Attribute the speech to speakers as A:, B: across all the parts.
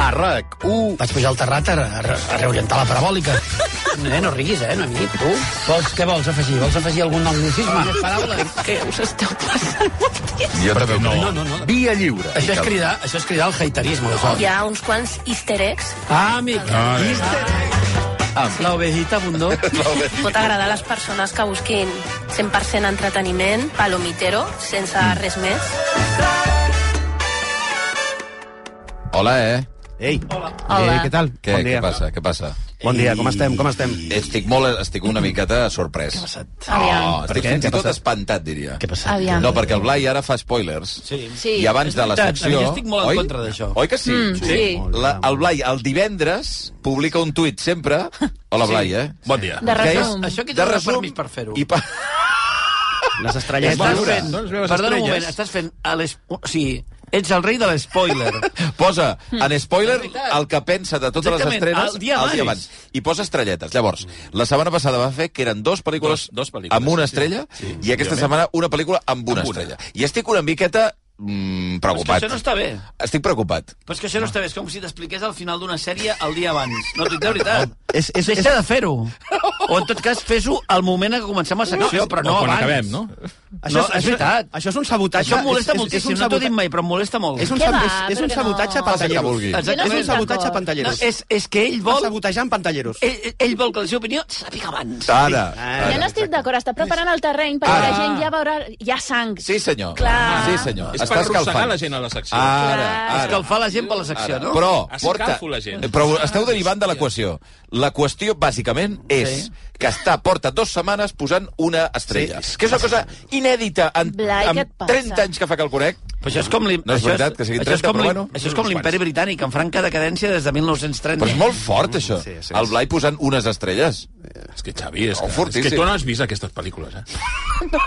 A: A RAC1...
B: Vaig pujar al terrat a, a, a reorientar la parabòlica. Eh, no riguis, eh, Noemí, tu. Vols, què vols afegir? Vols afegir algun anglicisme?
C: Que us esteu passant molt bé.
A: Jo també ho crec.
B: No, no, no.
A: Via lliure.
B: Això és cridar, això és cridar el haterisme. Oh,
C: Hi ha uns quants easter eggs.
B: Ah, amic.
D: Ah, bé.
A: Ah,
B: La ovejita abundó.
C: Pot agradar a les persones que busquin 100% entreteniment, palomitero, sense
E: Mm.
C: res més.
A: Hola, eh?
F: Ei,
C: Hola.
F: Eh, què tal?
A: Què,
F: bon dia.
A: què passa? Eh, Què passa?
F: Bon dia, com estem? Com estem?
A: Estic molt... Estic una miqueta sorprès. Què ha passat? Oh,
C: Aviam.
A: estic
F: què?
A: fins
F: Què
A: i
F: ha
A: tot
F: passat?
A: espantat, diria.
F: Què passa?
C: Aviam.
A: No, perquè el Blai ara fa spoilers.
B: Sí.
C: Sí.
A: I abans de la
B: veritat,
A: secció...
B: jo estic molt en contra d'això.
A: Oi que sí?
C: Mm, sí.
A: La, el Blai, el divendres, publica un tuit sempre... Hola, Blai, eh?
D: Bon dia.
C: De
A: Que
C: resum.
B: Això que
A: de
B: tens
A: resum
B: permís per fer-ho.
A: I pa...
F: Les
B: Estàs
F: estrelletes...
A: Bueno,
B: fent...
D: doncs veus
B: Perdona un
D: estrelles.
B: moment, estàs fent... A les... O sigui, ets el rei de l'espoiler.
A: Posa en spoiler
B: És veritat.
A: el que pensa de totes les
B: Exactament,
A: estrenes
B: el dia abans.
A: I posa estrelletes. Llavors, la setmana passada va fer que eren dos pel·lícules,
D: Dos- dos pel·lícules,
A: amb una
D: sí.
A: estrella
D: Sí,
A: i aquesta setmana
D: efectivament.
A: una pel·lícula amb una,
D: Amb una.
A: estrella. I estic una miqueta mm,
B: Però és que
A: preocupat.
B: això no està bé.
A: Estic preocupat.
B: Però és que això no està bé, és com si t'expliqués al final d'una sèrie el dia abans. No, t'ho dic de
A: Ah,
B: veritat.
F: És- és-
B: Deixa de fer-ho. O en tot cas, fes-ho al moment en què comencem la secció, però no
D: o quan
B: abans.
D: acabem, no?
B: No, és veritat.
F: Això és un sabotatge.
B: Això em molesta
F: és- és-
B: moltíssim,
F: És un
B: no t'ho he dit
F: sabotatge-
B: mai, però em molesta molt.
F: És un,
C: Què
F: sab...
C: va?
F: és, és un
C: Però que
F: sabotatge
C: no.
A: Passa el
F: a
A: que
F: pantalleros.
A: vulgui.
B: Exacte.
C: Jo no
F: És un
C: estic
F: sabotatge a
C: d'acord.
B: No,
F: pantalleros.
B: és, és que ell vol...
F: sabotejar amb pantalleros.
B: Ell, ell- ell vol que la seva opinió se sàpiga abans.
A: Ara.
F: Ah,
E: Jo no estic d'acord, està preparant el terreny perquè
A: Ara.
E: la gent ja veurà... Hi ha sang.
A: Sí, senyor.
C: Clar.
A: Sí, senyor.
D: És per
A: Està
D: arrossegar
A: escalfant.
D: la gent a la secció.
A: Ara,
C: Clar.
A: ara.
B: Escalfar la gent per la secció,
A: Ara,
B: no?
A: Però,
D: Escalfo
A: porta... Eh,
D: la gent.
A: Però esteu derivant de l'equació. La qüestió, bàsicament, és
B: Sí.
A: que està porta dues setmanes posant una estrella. Que és una cosa inèdita en,
E: Blai, què
A: en
E: et passa?
A: 30 anys que fa que el conec.
B: Però això és com l'im-
A: No és
B: això
A: veritat que siguin
B: això
A: 30,
B: és com
A: però
B: l'im-
A: bueno.
B: Això és com l'imperi britànic, en franca decadència des de 1930.
A: Però és molt fort, això.
F: Mm. Sí, sí, sí.
A: El Blai posant unes estrelles.
D: És que, Xavi, és,
A: Oh,
D: que, és
A: fortíssim.
D: que tu no has vist aquestes pel·lícules, eh?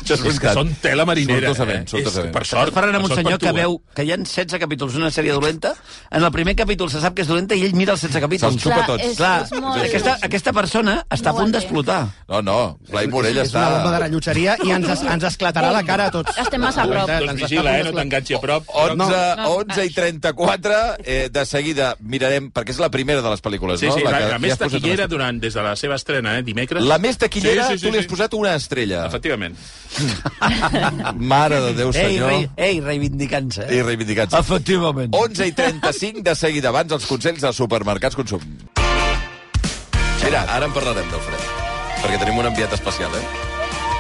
A: Això
D: És que són tela marinera,
A: Sortosament,
D: eh?
A: sortosament.
D: És, per sort,
B: Parlen amb un
D: per sort
B: senyor
D: per
B: que
D: tu, eh?
B: veu que hi ha 16 capítols d'una sèrie dolenta, en el primer capítol se sap que és dolenta i ell mira els 16 capítols.
A: Se'ls xupa Clar, tots.
E: és-
B: Clar,
E: és molt-
B: aquesta, aquesta persona està a
E: No ho
B: punt
E: entenc.
B: d'explotar.
A: No, no, Blai Morell
F: és
A: està...
F: una bomba de rellotxeria i ens, es- ens esclatarà la cara a tots.
E: Estem massa a prop.
F: Ens
D: Doncs
F: està
D: vigila, eh?
F: fent
D: No t'enganxi a prop.
A: 11,
F: No.
E: No.
A: 11 i 34, eh, de seguida mirarem, perquè és la primera de les pel·lícules,
D: Sí,
A: no?
D: sí, la,
A: que
D: la, més
A: has posat una
D: taquillera durant, des de la seva estrena, eh, dimecres.
A: La més taquillera,
D: Sí, sí, sí,
A: tu li
D: sí.
A: has posat una estrella.
D: Efectivament.
A: Mare de Déu,
B: Ei,
A: senyor.
B: rei, ei reivindicant-se.
A: I
B: Eh?
A: reivindicats.
B: Efectivament.
A: 11 i 35, de seguida abans, els consells dels supermercats consum. Mira, ara en parlarem del fred, perquè tenim un enviat especial, eh?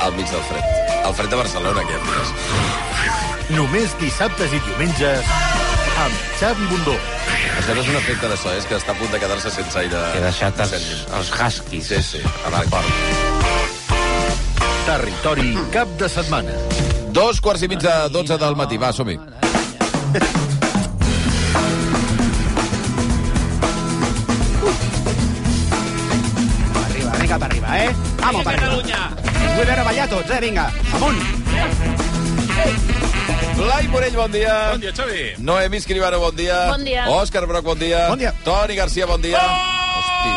A: Al mig del fred. El fred de Barcelona, que envies.
G: Només dissabtes i diumenges amb Xavi Bundó.
A: Això no és un efecte de so, és que està a punt de quedar-se sense aire.
H: He deixat els,
A: Sense-
H: els huskies.
A: Sí, sí, a l'acord.
G: Territori cap de setmana.
A: Dos quarts i mig de 12 del matí. Va, som-hi.
F: Arriba, vinga, per arriba, eh? Vamos, per arriba. Us vull veure ballar tots, eh? Vinga, amunt.
A: Blai Morell, bon dia.
D: Bon dia, Xavi.
A: Noemi Escribano, bon dia.
E: Bon dia.
A: Òscar Broc, bon dia.
F: Bon dia.
A: Toni Garcia, bon dia. Hosti.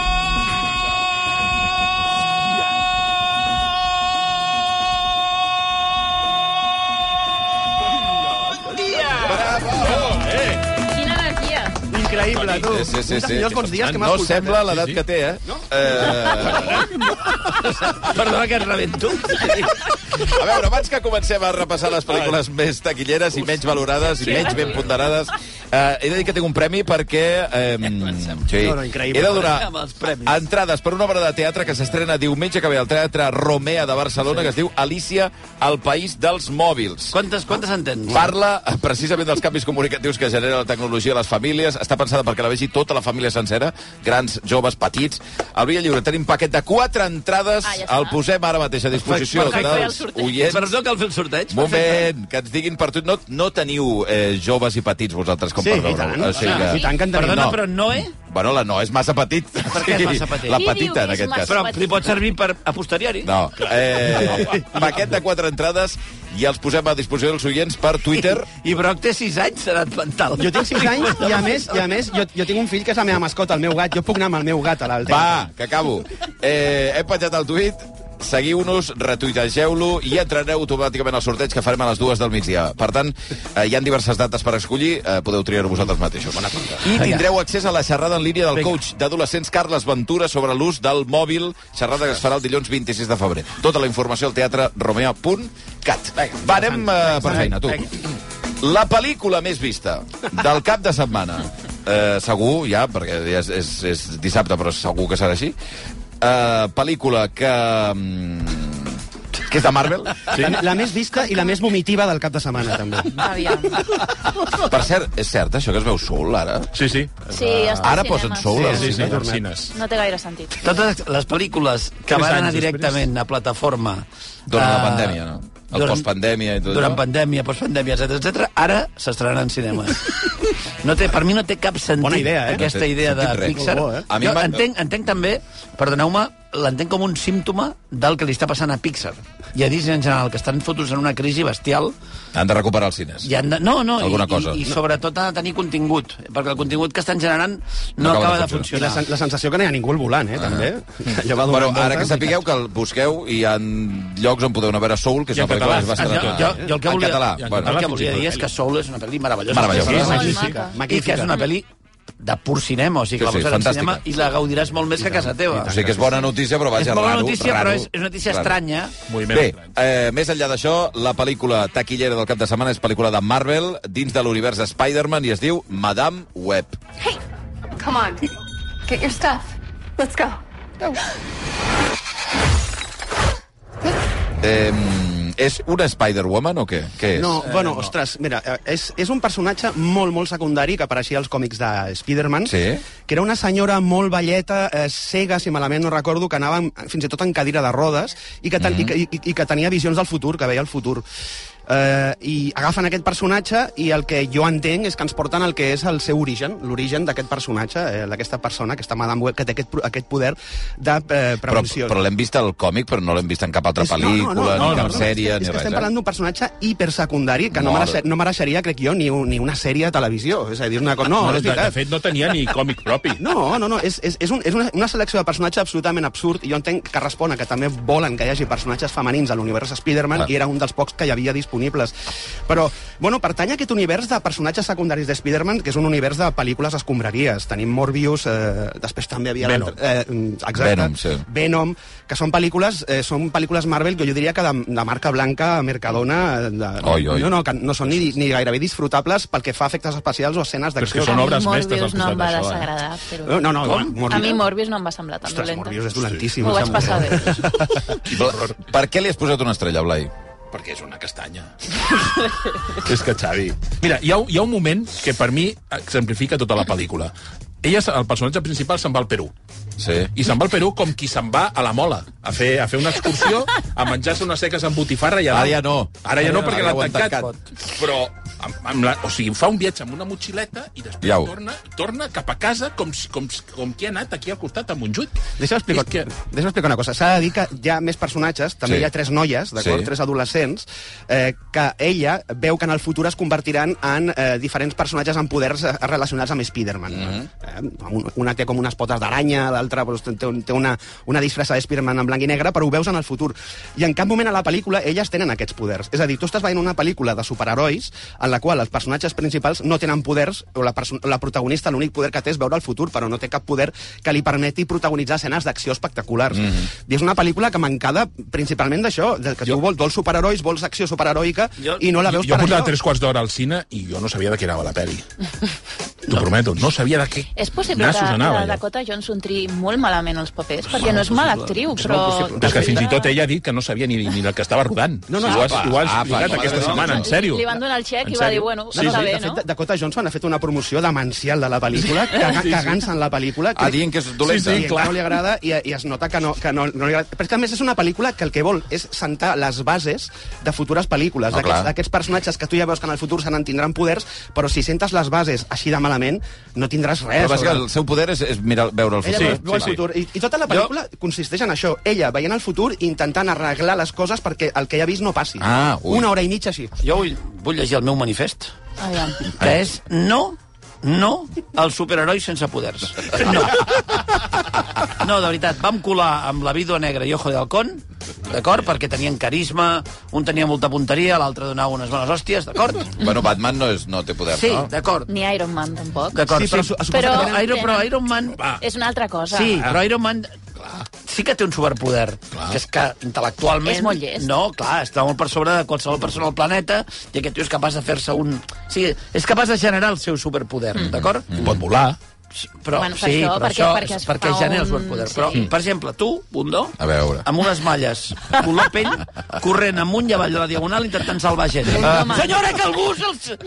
E: Quina energia.
F: Increïble, tu.
A: Sí, sí, sí,
F: Un dels
A: sí.
F: millors bons dies que m'ha
A: No
F: escoltat.
A: sembla l'edat
D: Sí, sí.
A: que té, eh? No? eh
B: Perdona que et rebento.
A: a veure, abans que comencem a repassar les pel·lícules més taquilleres i menys valorades i menys ben ponderades, eh, he de dir que tinc un premi perquè... Eh, sí,
F: No, no, increïble.
A: he de donar
B: Amb els premis.
A: entrades per una obra de teatre que s'estrena diumenge que ve al Teatre Romea de Barcelona, que es diu Alicia, el país dels mòbils.
B: Quantes, quantes en tens?
A: Parla eh, precisament dels canvis comunicatius que genera la tecnologia a les famílies. Està pensada perquè la vegi tota la família sencera, grans, joves, petits. Al Via Lliure tenim paquet de quatre entrades.
E: Ah, ja està.
A: el posem ara mateix a disposició
B: Perfecte.
A: dels
E: Fer el sorteig.
B: Però
A: oients.
B: no cal fer el sorteig.
A: Moment, que ens diguin per tu. No, no teniu eh, joves i petits vosaltres com
F: Sí,
A: per
F: i tant. Ah,
A: veure-ho. O sigui
F: I tant que en tenim.
B: Perdona,
A: No.
B: però eh? Noé,
A: Bueno, la no és massa petit. Per
B: què és massa petit?
A: La
E: Qui diu
A: petita,
E: que
A: en
E: és
A: aquest
E: massa
A: cas.
B: però li pot servir per a posteriori.
A: No. Eh, paquet de quatre entrades i els posem a disposició dels oients per Twitter.
B: I Broc té 6 anys d'edat mental.
F: Jo tinc 6 anys i, a més, i a més jo, jo tinc un fill que és la meva mascota, el meu gat. Jo puc anar amb el meu gat a l'altre.
A: Va, que acabo. Eh, hem penjat el tuit. seguiu-nos, retuitegeu-lo i entrareu automàticament al sorteig que farem a les dues del migdia. Per tant, eh, hi han diverses dates per escollir, eh, podeu triar-ho vosaltres mateixos. I tindreu accés a la xerrada en línia del coach d'adolescents Carles Ventura sobre l'ús del mòbil, xerrada que es farà el dilluns 26 de febrer. Tota la informació al teatre romeo.cat. Va, anem eh, per feina, tu. La pel·lícula més vista del cap de setmana, eh, segur ja, perquè ja és, és, és dissabte, però segur que serà així, eh, pel·lícula que... mm, que és de Marvel.
F: La, la més vista i la més vomitiva del cap de setmana, també.
C: Aviam.
A: Per cert, és cert això que es veu Soul, ara?
D: Sí, sí.
E: Sí, està
A: Ara
E: al
A: posen
E: cinema.
A: Soul,
D: Sí, sí, sí,
F: tornem.
D: Cines.
E: No té gaire sentit.
B: Totes les pel·lícules que
D: Tres
B: van anar
D: anys després.
B: directament a plataforma...
A: Durant la
B: eh,
A: pandèmia, no? El
B: durant-
A: postpandèmia i tot
B: Durant
A: allò.
B: pandèmia, postpandèmia, etc etc. ara s'estrenaran en cinemes. No té, per mi no té cap sentit
F: Bona idea, eh?
B: aquesta
A: No té
B: idea de
A: sentit res.
B: Pixar.
F: Molt bo, eh?
A: A mi
B: Jo
A: m'ha-
B: entenc, entenc també, perdoneu-me, l'entenc com un símptoma del que li està passant a Pixar. I a Disney en general, que estan fotuts en una crisi bestial
A: Han de recuperar els cines.
B: i han de... No, no,
A: Alguna
B: i,
A: cosa.
B: i, i sobretot ha de tenir contingut, perquè el contingut que estan generant no,
A: No
B: acaba de funcionar.
F: La, sen- la sensació que no hi ha ningú al volant,
B: Ah.
F: eh, també.
B: Mm.
F: Allò va
A: Bueno,
F: donant
A: ara que
F: voltes.
A: sapigueu que el busqueu i hi ha llocs on podeu anar a veure Soul, que és
D: I
A: una
D: en
A: pel·lícula
D: català.
A: que es va
B: Ah,
A: estrenar.
B: jo, jo, jo el que
A: en
B: volia,
A: català.
D: i en
A: Bueno,
B: el que
D: fins i
B: volia
D: tot.
B: dir és que Soul és una pel·li meravellosa.
A: Meravellosa.
B: Sí,
A: Sí,
B: sí,
E: Molt
B: sí.
E: maca.
B: I que és una pel·li de pur cinema, o sigui
A: Sí,
B: que la
A: sí,
B: veus al
A: fantàstica.
B: cinema i la gaudiràs molt més que a casa teva.
A: o sigui que és bona notícia, però
B: és
A: vaja,
B: bona
A: raro,
B: notícia,
A: raro,
B: però és, és una notícia
A: raro.
B: estranya.
D: Moviment
A: Bé,
D: estrany.
A: eh, més enllà d'això, la pel·lícula taquillera del cap de setmana és pel·lícula de Marvel dins de l'univers de Spider-Man i es diu Madame Web.
H: Come on. Get your stuff. Let's go.
A: Eh, és una Spider-Woman o què? què és?
F: No, bueno, ostres, mira, eh, és, és un personatge molt, molt secundari que apareixia als còmics de Spider-Man,
A: Sí.
F: que era una senyora molt velleta, eh, cega, si malament no recordo, que anava amb- fins i tot en cadira de rodes i que, ten,
A: Mm.
F: i, que- i, i que tenia visions del futur, que veia el futur. Eh, I agafen aquest personatge i el que jo entenc és que ens porten el que és el seu origen, l'origen d'aquest personatge, eh, d'aquesta persona, aquesta Madame Web, que té aquest, pro- aquest poder de eh,
A: però
F: prevenció.
A: però l'hem vist al còmic, però no l'hem vist en cap altra
F: És-
A: pel·lícula, ni cap
F: no,
A: sèrie,
F: és que,
A: ni
F: és
A: res.
F: que estem
A: eh?
F: parlant d'un personatge hipersecundari que no,
A: Molt.
F: mereixer, no mereixeria, crec jo, ni, un, ni una sèrie de televisió. És a dir, una cosa... No,
D: No,
F: no,
D: de,
F: és
D: de
F: veritat.
D: fet, no tenia ni còmic propi.
F: No, no, no, és, és, és, un, és una, una selecció de personatge absolutament absurd i jo entenc que respon a que també volen que hi hagi personatges femenins a l'univers Spider-Man
A: Clar.
F: i era un dels pocs que hi havia disponibles. Però, bueno, pertany a aquest univers de personatges secundaris de Spider-Man, que és un univers de pel·lícules escombraries. Tenim Morbius, eh, després també havia...
D: Venom.
F: l'altre- Eh, exacte.
A: Venom, sí.
F: Venom, que són pel·lícules, eh, són pel·lícules Marvel que jo diria que de, de marca blanca, Mercadona... eh, De,
A: Oi, oi.
F: No, no, que no són ni, ni gairebé disfrutables pel que fa a efectes especials o escenes
D: Però és que
F: d'acció.
D: són obres
E: Morbius
D: mestres al
E: no
D: costat
E: em va
D: d'això, eh?
E: desagradar,
F: No,
E: però...
F: no, no
E: A mi Morbius no em va semblar tan
F: Ostres,
E: dolenta.
F: Morbius és dolentíssim.
E: M'ho vaig passar bé.
A: Bla- Per què li has posat una estrella, Blai?
D: Perquè és una castanya. és que, Xavi... Mira, hi ha, hi ha un moment que per mi exemplifica tota la pel·lícula. Ella, se- el personatge principal, se'n va al Perú.
A: Sí.
D: I se'n va al Perú com qui se'n va a la mola, a fer, a fer una excursió, a menjar-se unes seques amb botifarra i a
A: Ara ja no.
D: Ara ja no, perquè
A: Ara ja ho
D: l'han
A: han
D: tancat.
A: tancat.
D: Però, amb, amb la, o sigui, fa un viatge amb una motxileta i després
A: Iau.
D: torna, torna cap a casa com, si- com, si- com qui ha anat aquí al costat, a Montjuïc.
F: Deixa'm explicar,
D: És que-
F: deixa'm explicar una cosa. S'ha de dir que hi ha més personatges, també
A: Sí.
F: sí. hi ha tres noies, d'acord?
A: Sí.
F: Sí. Tres adolescents, eh, que ella veu que en el futur es convertiran en eh, diferents personatges amb poders eh, relacionats amb Spider-Man. Mm -hmm. eh, una té com unes potes d'aranya, l'altra doncs, té, un- té una, una disfressa de Spider-Man en blanc i negre, però ho veus en el futur. I en cap moment a la pel·lícula elles tenen aquests poders. És a dir, tu estàs veient una pel·lícula de superherois en la qual els personatges principals no tenen poders, o la, perso- la protagonista l'únic poder que té és veure el futur, però no té cap poder que li permeti protagonitzar escenes d'acció espectaculars. Mm
D: Mhm.
F: -hmm. I és una pel·lícula que mancada principalment d'això, del que jo... tu vols, vols superherois, vols acció superheroica, jo... i no la
D: jo,
F: veus
D: jo
F: per
D: portava
F: això.
D: tres quarts d'hora al cine i jo no sabia de què anava la pel·li. T'ho prometo, no sabia de què
E: És possible que,
D: nassos
E: que
D: anava.
E: la
D: allò.
E: Dakota Johnson triï molt malament els papers, perquè no és mala actriu, però...
D: Però Ah, és que fins i tot ella ha dit que no sabia ni, ni el que estava rodant.
F: No, no,
D: si ho has,
F: apa,
D: ho has
A: apa,
D: explicat
A: no,
D: aquesta
A: no, no,
D: setmana,
A: no.
D: en sèrio.
E: Li van donar el xec
D: En
E: i va dir,
D: sèrio?
E: bueno,
D: Sí,
E: està
D: sí,
E: bé,
F: de
E: no?
F: fet, Dakota Johnson ha fet una promoció demencial de la pel·lícula, caga- cagant-se en la pel·lícula.
A: Ah, dient que és dolenta.
F: Sí, sí, clar. no li agrada i, i es nota que no, que no, no li agrada. Però és que, a més, és una pel·lícula que el que vol és sentar les bases de futures pel·lícules,
A: Ah, clar.
F: d'aquests d'aquests personatges que tu ja veus que en el futur se n'en tindran poders, però si sentes les bases així de malament, no tindràs res.
A: Però bàsica,
F: sobre-
A: el seu poder és, és mirar, veure el
F: Ella
A: futur.
F: sí,
D: Sí,
F: veu el
D: sí, sí.
F: futur. I, I tota la pel·lícula consisteix en això. Ella veient el futur i intentant arreglar les coses perquè el que ja ha vist no passi.
A: Ah, ui.
F: Una hora i mitja així.
A: Eh?
B: Jo vull, vull llegir el meu manifest,
E: Aviam.
B: que és no No als superherois sense poders. No. No, de veritat, vam colar amb la vídua negra i Ojo de Halcón, d'acord? Perquè tenien carisma, un tenia molta punteria, l'altre donava unes bones hòsties, d'acord?
A: Bueno, Batman no, és, no té poder,
B: Sí,
A: no?
B: d'acord.
E: Ni Iron Man, tampoc.
B: D'acord,
F: Sí, però su-
B: però,
E: suposo que tenen-
B: Iron, però Iron Man...
E: És una altra cosa.
B: Sí, però
A: Ah.
B: Iron Man sí que té un superpoder, que és que intel·lectualment...
E: És molt llest.
B: No, clar, està molt per sobre de qualsevol persona al planeta i aquest tio és capaç de fer-se un... O sigui, és capaç de generar el seu superpoder, d'acord?
A: Mm.
D: Pot volar.
B: Però,
E: Mm. Bueno, per
B: sí,
E: això,
B: però
E: perquè-
B: això
E: perquè
B: és
E: es
B: perquè
E: fa
B: genera el
E: un-
B: superpoder.
E: sí.
B: Però, per exemple, tu, Bundó,
A: A veure.
B: amb unes malles color pell, corrent amunt i avall de la diagonal intentant salvar gent.
E: home.
B: Senyora, que algú se'ls...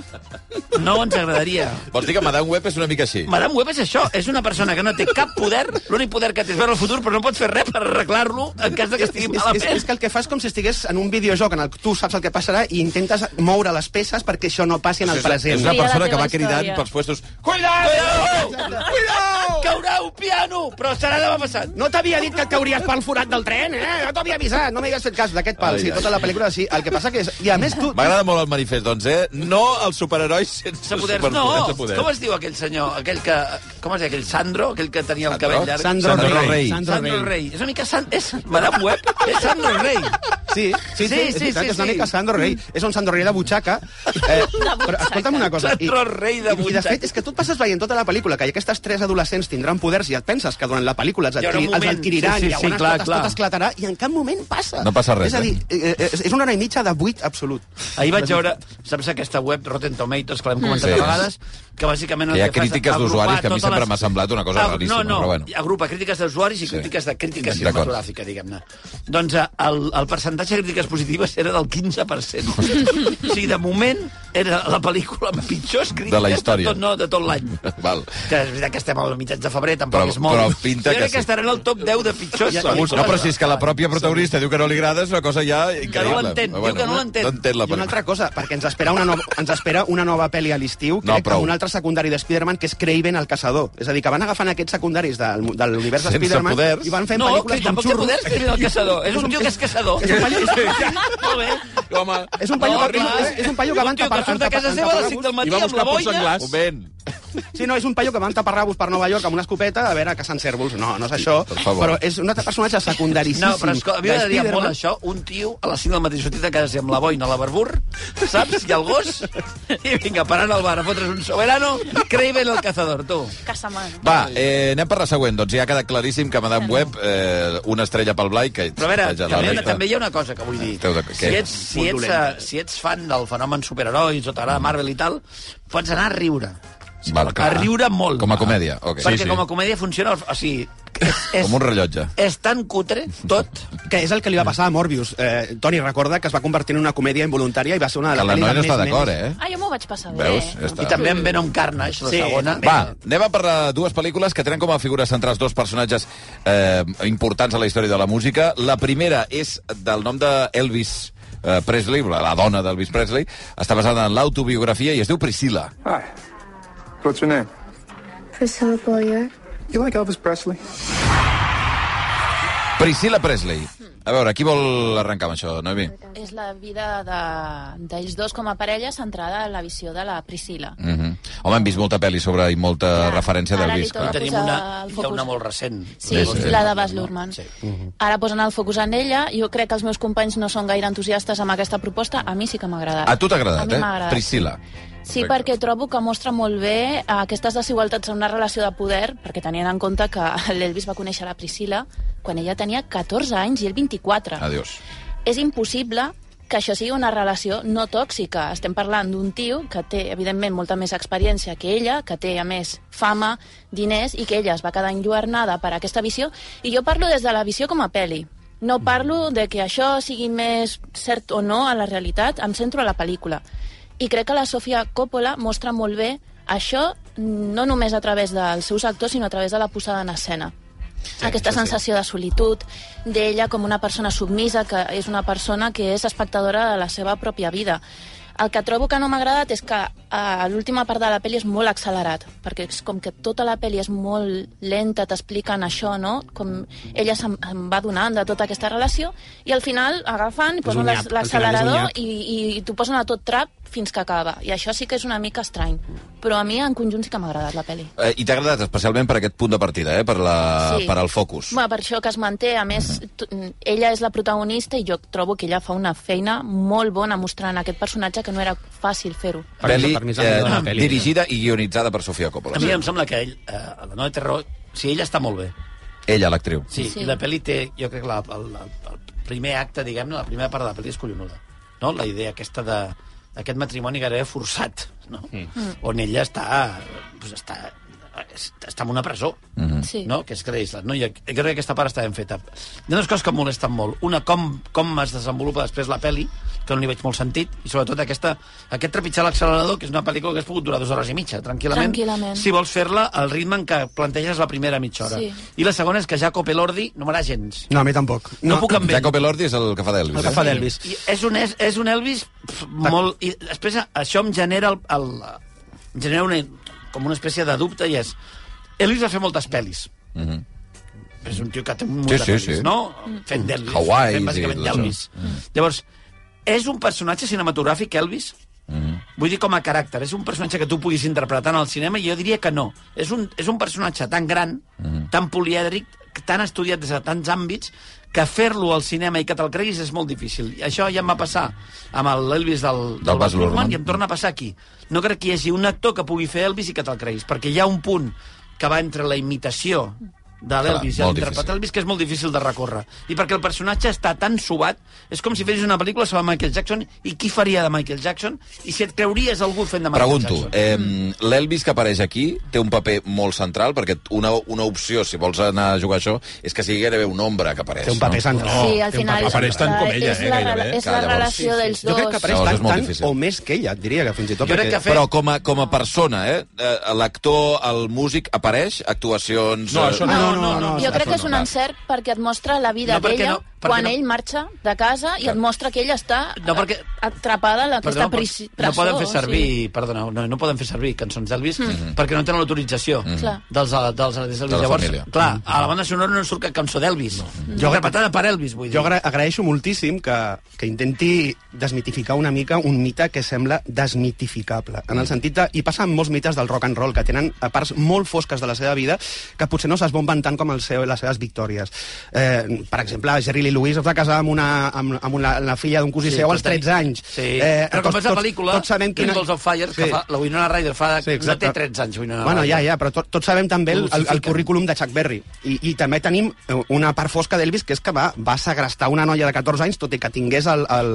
B: No ens agradaria.
A: Vols dir que Madame Web és una mica així?
B: Madame Web és això, és una persona que no té cap poder, l'únic poder que té és veure el futur, però no pot fer res per arreglar-lo en cas de que estigui
F: és, és, és
B: malament.
F: que el que fas com si estigués en un videojoc en el que tu saps el que passarà i intentes moure les peces perquè això no passi en el
A: És, és
F: present.
A: una
E: Mira la
A: persona que
E: teva
A: va cridant
E: història.
A: pels puestos...
B: Cuidao! Cuidao! Caurà un piano, però serà demà passat.
F: No t'havia dit que et cauries pel forat del tren, eh? No t'havia avisat, no m'havies fet cas d'aquest pal.
A: Ai,
F: sí,
A: ai.
F: tota la pel·lícula sí. El que passa que és... I a més tu...
A: M'agrada molt el manifest, doncs, eh? No els superherois sense,
B: Sense poders, no.
A: superpoders de poder.
B: Com es diu aquell senyor? Aquell que... Com es diu? Aquell Sandro? Aquell que tenia el
A: Sandro?
B: cabell llarg?
F: Sandro,
A: Sandro
F: Rey.
A: Rey.
F: Sandro,
B: Sandro
F: Rey.
B: Rey. És una mica... San... És Madame Web? És Sandro Rey.
F: Sí, sí, sí,
B: Sí,
F: sí, és,
B: sí,
F: veritat,
B: sí,
F: és una
B: sí.
F: mica Sandro Rey. És un Sandro Rey de butxaca. Eh, però escolta'm una cosa.
B: Sandro Rey de
F: i, I de
B: butxaca.
F: fet, és que tu et passes veient tota la pel·lícula que aquestes tres adolescents tindran poders i et penses que durant la pel·lícula els,
B: Hi haurà un
F: adquiri, els
B: moment.
F: adquiriran
B: Sí, sí,
F: i llavors
B: sí, clar,
F: tot,
B: clar.
F: tot esclatarà i en cap moment passa.
A: No passa res,
F: És a dir, eh, eh, és una hora i mitja de buit absolut.
B: Ahir vaig veure, saps aquesta web Rotten Tomatoes, que l'hem comentat
A: Mm. Sí.
B: sí. a vegades, que bàsicament... el
A: Que hi ha
B: fas és
A: crítiques
B: agrupar
A: d'usuaris, que a mi
B: totes
A: sempre m'ha semblat una cosa
B: Ah,
A: raríssima,
B: No, no,
A: però bueno.
B: agrupa crítiques d'usuaris i crítiques de crítica
A: D'acord.
B: cinematogràfica, diguem-ne. Doncs eh, el, el percentatge de crítiques positives era del 15%. o sigui, de moment, era la pel·lícula amb pitjors crítiques
A: De la història.
B: de tot, no, de tot l'any.
A: Val.
B: Que és veritat que estem al mitjans de febrer, tampoc
A: Però-
B: és molt.
A: però pinta
B: jo crec
A: que
B: que,
A: sí.
B: estarà en el top 10 de pitjors.
F: Ja-
B: pel·lícules.
A: No, però si és que la pròpia protagonista diu que no li agrada, és una cosa ja increïble.
B: l'entén,
A: Però
B: diu que no l'entén.
A: No entén la
F: I una altra cosa, perquè ens espera una nova, ens espera una nova pel·li a l'estiu,
A: No,
F: crec,
A: prou.
F: amb un altre secundari de Spider-Man, que és Craven el caçador. És a dir, que van agafant aquests secundaris del, de l'univers de
A: Sense
F: Spider-Man
A: poders.
F: i van fent
B: No, que
F: pel·lícules
B: tampoc té poder que el caçador. És un tio que és caçador.
F: És un paio-
B: Molt bé.
A: Home,
F: És un paio
B: No,
F: que,
B: clar.
F: és, és un paio que
B: És
F: va
B: un tio
F: entapar-
B: que surt de casa
F: entapar-
B: seva a les
F: entapar-
B: 5 del matí
D: I va
B: amb la
D: buscar pots
B: boina.
D: senglars.
A: moment.
F: Sí, no, és un paio que va entapar rabos per Nova York amb una escopeta a veure caçant cèrvols. No, no és això.
A: per favor.
F: però és un altre personatge secundaríssim.
B: No, però escolta, a mi
F: de
B: m'agradaria molt
F: Spider-Man.
B: això, un tio a les 5 del matí sortit de casa amb la boina a la barbur, saps? I el gos, i vinga, parant al bar a fotre's un soberano, Craven el cazador, tu.
E: Casamant.
A: Va, eh, anem per la següent. Doncs ja ha quedat claríssim que Madame Web, eh, una estrella pel Blai, que...
B: Però a veure,
A: vaja, la
B: també,
A: resta-
B: també hi ha una cosa que vull dir.
A: Esteu d'acord,
B: Si
A: què?
B: ets, si,
F: Molt
B: ets,
F: dolenta.
B: eh, si ets fan del fenomen superherois o t'agrada Marvel i tal, pots anar a riure.
A: Mm. Val,
B: A riure molt.
A: Com a comèdia, ok.
B: Perquè
A: Sí, sí.
B: com a comèdia funciona... O sigui, és, és,
A: Com un rellotge.
B: és tan cutre tot
F: Que és el que li va passar a Morbius. Eh, Toni, recorda que es va convertir en una comèdia involuntària i va ser una de
A: Que
F: les
A: la
F: pel·lis
A: noia no
F: amb
A: està
F: més
A: d'acord,
F: memes.
A: eh?
E: Ah, jo m'ho vaig passar bé.
A: Veus? Ja està.
B: i també en Venom Carnage, la
F: Sí,
B: segona.
F: també.
A: Va, anem a parlar de dues pel·lícules que tenen com a figures centrals dos personatges eh, importants a la història de la música. La primera és del nom de Elvis eh, Presley, la la dona d'Elvis Presley. Està basada en l'autobiografia i es diu Priscilla.
I: Hi. What's your name?
J: Priscilla Boyer.
I: You like Elvis Presley?
A: Priscilla Presley. A veure, qui vol arrencar amb això, Noemi?
E: És la vida de- d'ells dos com a parella centrada en la visió de la Priscila.
A: Mm -hmm. Home, hem vist molta pel·li sobre i molta
E: Clar,
A: referència
E: ara
A: d'Elvis.
E: li toca.
A: clar.
B: I tenim
E: Posar
B: una,
E: el
B: i
E: focus.
B: una molt recent.
A: Sí,
E: Sí,
A: sí.
E: la de Bas Luhrmann. Ara posen el focus en ella. Jo crec que els meus companys no són gaire entusiastes amb aquesta proposta. A mi sí que m'ha agradat.
A: A tu t'ha
E: A
A: agradat,
E: mi
A: eh?
E: m'ha agradat.
A: Priscilla.
E: Sí, perquè trobo que mostra molt bé eh, aquestes desigualtats en una relació de poder, perquè tenien en compte que l'Elvis va conèixer la Priscila quan ella tenia 14 anys i ell 24.
A: Adiós.
E: és impossible que això sigui una relació no tòxica. Estem parlant d'un tio que té, evidentment, molta més experiència que ella, que té, a més, fama, diners, i que ella es va quedar enlluernada per aquesta visió. I jo parlo des de la visió com a peli. No parlo de que això sigui més cert o no a la realitat, em centro a la pel·lícula. I crec que la Sofia Coppola mostra molt bé això, no només a través dels seus actors, sinó a través de la posada en escena sí, aquesta sensació de solitud, d'ella com una persona submisa, que és una persona que és espectadora de la seva pròpia vida. El que trobo que no m'ha agradat és que eh, l'última part de la pel·li és molt accelerat, perquè és com que tota la pel·li és molt lenta, t'expliquen això, no? Com ella se'n em va donant de tota aquesta relació, i al final agafen, i
F: un
E: posen
F: nyap,
E: les-
F: al final és un
E: l'accelerador
F: nyap.
E: i, i t'ho posen a tot trap fins que acaba. I això sí que és una mica estrany. Però a mi en conjunt sí que m'ha agradat la pel·li.
A: Eh, I t'ha agradat especialment per aquest punt de partida, eh? per, la,
E: Sí.
A: per al focus.
E: Bueno, per això que es manté, a més, tu- mm, ella és la protagonista i jo trobo que ella fa una feina molt bona mostrant aquest personatge que no era fàcil fer-ho.
A: Pel·li, eh,
F: Per mi és la millor de la pel·li.
A: dirigida i guionitzada per Sofia Coppola.
B: A mi em sembla que ell, eh, la Noe té raó, si ella està molt bé.
A: Ella, l'actriu.
B: Sí,
E: Sí.
B: sí. i la pel·li té, jo crec, la, el, el, el primer acte, diguem-ne, la primera part de la pel·li és collonuda. No? La idea aquesta de aquest matrimoni gairebé forçat, no? Mm. on ella està, doncs està, està en una presó,
A: Mhm.
E: Sí.
B: no? que és Grey Island. No? I jo crec que aquesta part està ben feta. Hi ha dues coses que em molesten molt. Una, com, com es desenvolupa després la pel·li, que no li veig molt sentit, i sobretot aquesta, aquest trepitjar l'accelerador, que és una pel·lícula que has pogut durar dues hores i mitja, tranquil·lament,
E: Tranquil·lament.
B: si vols fer-la al ritme en què planteges la primera mitja hora.
E: Sí.
B: I la segona és que Jacob Elordi no m'agrada gens.
F: No, a mi tampoc.
B: No, puc amb ell.
A: Jacob Elordi és el que fa d'Elvis. eh?
F: El que fa d'Elvis.
B: I és, un, és, és un Elvis pf, molt... I després això em genera, el, el, em genera una, com una espècie de dubte i és... Elvis va fer moltes pel·lis.
A: Mm -hmm.
B: És un tio que té un munt
A: Sí,
B: de
A: sí,
B: pel·lis,
A: sí.
B: no? Fent d'Elvis.
A: Hawaii,
B: Fent bàsicament
A: sí, doncs, eh.
B: d'Elvis. Llavors, és un personatge cinematogràfic, Elvis? Vull dir com a caràcter. És un personatge que tu puguis interpretar en el cinema? Jo diria que no. És un, és un personatge tan gran,
A: Mhm.
B: tan polièdric, tan estudiat des de tants àmbits, que fer-lo al cinema i que te'l creguis és molt difícil. I això ja em va passar amb el- l'Elvis del, del,
A: Baz Luhrmann.
B: i em torna a passar aquí. No crec que hi hagi un actor que pugui fer Elvis i que te'l creguis, perquè hi ha un punt que va entre la imitació de l'Elvis i
A: Clar, molt
B: l'interpretar
A: difícil.
B: l'Elvis que és molt difícil de recórrer. I perquè el personatge està tan subat, és com si fessis una pel·lícula sobre Michael Jackson i qui faria de Michael Jackson i si et creuries algú fent de Michael
A: Pregunto,
B: Jackson.
A: eh, l'Elvis que apareix aquí té un paper molt central, perquè una, una opció, si vols anar a jugar a això, és que sigui gairebé un ombra que apareix.
F: Té un paper
A: no?
F: central.
E: sí, al
F: Té un
E: final...
F: paper
D: Apareix tant
E: la-
D: com ella,
E: és
D: eh,
E: la,
D: gairebé.
E: rela- És
A: Clar,
E: la
A: llavors,
E: relació dels
F: Jo
E: dos.
F: crec que apareix
A: No, és
F: tant,
A: molt
F: tant
A: difícil.
F: o més que ella, et diria que fins i tot.
B: Jo crec que
F: perquè-
B: fer-
A: Però com a, com a persona, eh? eh, L'actor, el músic, apareix? Actuacions...
D: No,
A: eh,
D: això
F: No, no, no,
E: Jo crec que és
A: no,
E: un
A: va.
E: encert perquè et mostra la vida
B: No, perquè
E: d'ella
B: no, perquè
E: quan
B: no.
E: ell marxa de casa i et mostra que ella està
B: No, perquè-
E: atrapada en
B: Perdó,
E: aquesta
B: però
E: prisi-
B: no
E: presó.
B: poden fer
E: o
B: servir,
E: sigui.
B: perdona, no, no poden fer servir cançons d'Elvis
F: Mhm.
B: perquè no tenen l'autorització
E: Mm. Clar.
B: dels, eh, dels artistes
A: la
B: d'Elvis. Llavors,
A: família.
B: clar, a la banda sonora no surt cap cançó d'Elvis. No.
F: Mhm. Jo-
B: Interpretada per Elvis, vull dir.
F: Jo agra agraeixo moltíssim que, que intenti desmitificar una mica un mite que sembla desmitificable.
A: Mm.
F: En el sentit de... I passa amb molts mites del rock and roll, que tenen eh, parts molt fosques de la seva vida que potser no s'esbomben tant com el seu, les seves victòries. Eh, per exemple, Jerry Lee Lewis es va casar amb, una, amb, amb una, la filla d'un cosí
B: Sí,
F: sí, seu als
B: però teni-
F: 13 anys.
B: Sí. Eh, però com és la pel·lícula,
F: tots sabem quina...
B: Candles of Fire, que fa, la Winona Ryder fa...
F: Sí,
B: no
F: exacte.
B: té 13 anys, Winona
F: Bueno, ja,
B: Ryder.
F: ja, però tot, tots sabem també el, el, el
B: Crucifiquen.
F: currículum de Chuck Berry. I, I també tenim eh, una part fosca d'Elvis, que és que va, va segrestar una noia de 14 anys, tot i que tingués el, el,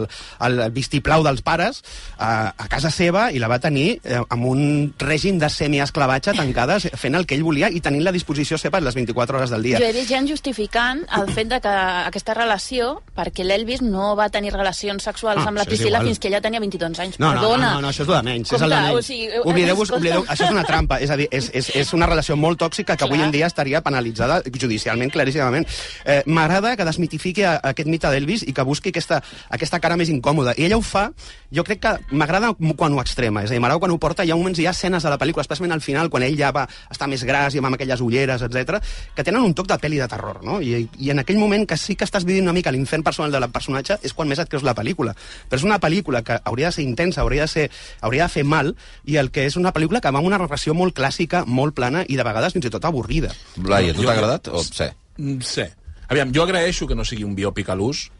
F: el vistiplau dels pares, a, a casa seva, i la va tenir eh, amb un règim de semiesclavatge tancada, fent el que ell volia i tenint la disposició seva les 24 hores del dia.
E: Jo he vist gent justificant el fet de que aquesta relació, perquè l'Elvis no va tenir relacions sexuals
F: Ah,
E: amb la
F: això és
E: Priscilla
F: igual.
E: fins que ella tenia 22 anys.
F: No, no, no,
E: Perdona.
F: no, no, això és el de menys.
E: Com
F: és el de
E: que,
F: menys.
E: o sigui, eh,
F: oblideu-vos,
E: escolta.
F: oblideu, això és una trampa, és a dir, és, és, és una relació molt tòxica que avui
E: Clar.
F: en dia estaria penalitzada judicialment, claríssimament. Eh, M'agrada que desmitifiqui a, aquest mite d'Elvis i que busqui aquesta, aquesta cara més incòmoda. I ella ho fa, jo crec que m'agrada quan ho extrema, és a dir, m'agrada quan ho porta, hi ha moments, hi ha escenes de la pel·lícula, especialment al final, quan ell ja va estar més gras i amb aquelles ulleres, etc, que tenen un toc de pel·li de terror, no? I, I en aquell moment que sí que estàs vivint una mica l'infern personal del personatge és quan més et creus la pel·lícula. Però és una pel·lícula que hauria de ser intensa, hauria de, ser, hauria de fer mal, i el que és una pel·lícula que va amb una narració molt clàssica, molt plana i de vegades fins i tot avorrida.
A: Laia, a tu
D: Jo-
A: t'ha agradat? O... Sí.
D: Mm, Sí. Aviam, jo agraeixo que no sigui un biòpic a l'ús,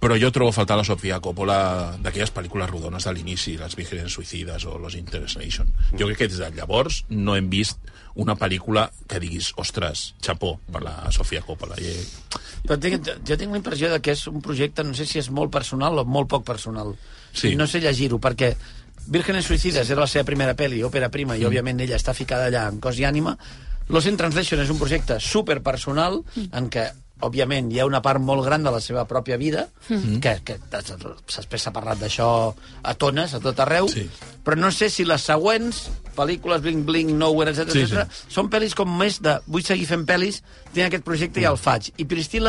D: però jo trobo faltar la Sofia Coppola d'aquelles pel·lícules rodones de l'inici, les Vigilants Suïcides o Los Interestation. Jo crec que des de llavors no hem vist una pel·lícula que diguis, ostres, xapó per la Sofia Coppola. I,
B: Però tinc, jo tinc la impressió de que és un projecte, no sé si és molt personal o molt poc personal.
D: Sí.
B: I No sé llegir-ho, perquè Vírgenes Suïcides era la seva primera pel·li, òpera prima,
D: Mm.
B: i òbviament ella està ficada allà en cos i ànima. Los in Translation és un projecte superpersonal en què òbviament hi ha una part molt gran de la seva pròpia vida
D: Mm.
B: que, que després s'ha parlat d'això a tones, a tot arreu
D: Sí.
B: però no sé si les següents pel·lícules Bling Bling, Nowhere, etc
D: Sí,
B: sí,
D: sí.
B: sí. són pel·lis com més de vull seguir fent pel·lis, tinc aquest projecte i el faig. I Pristil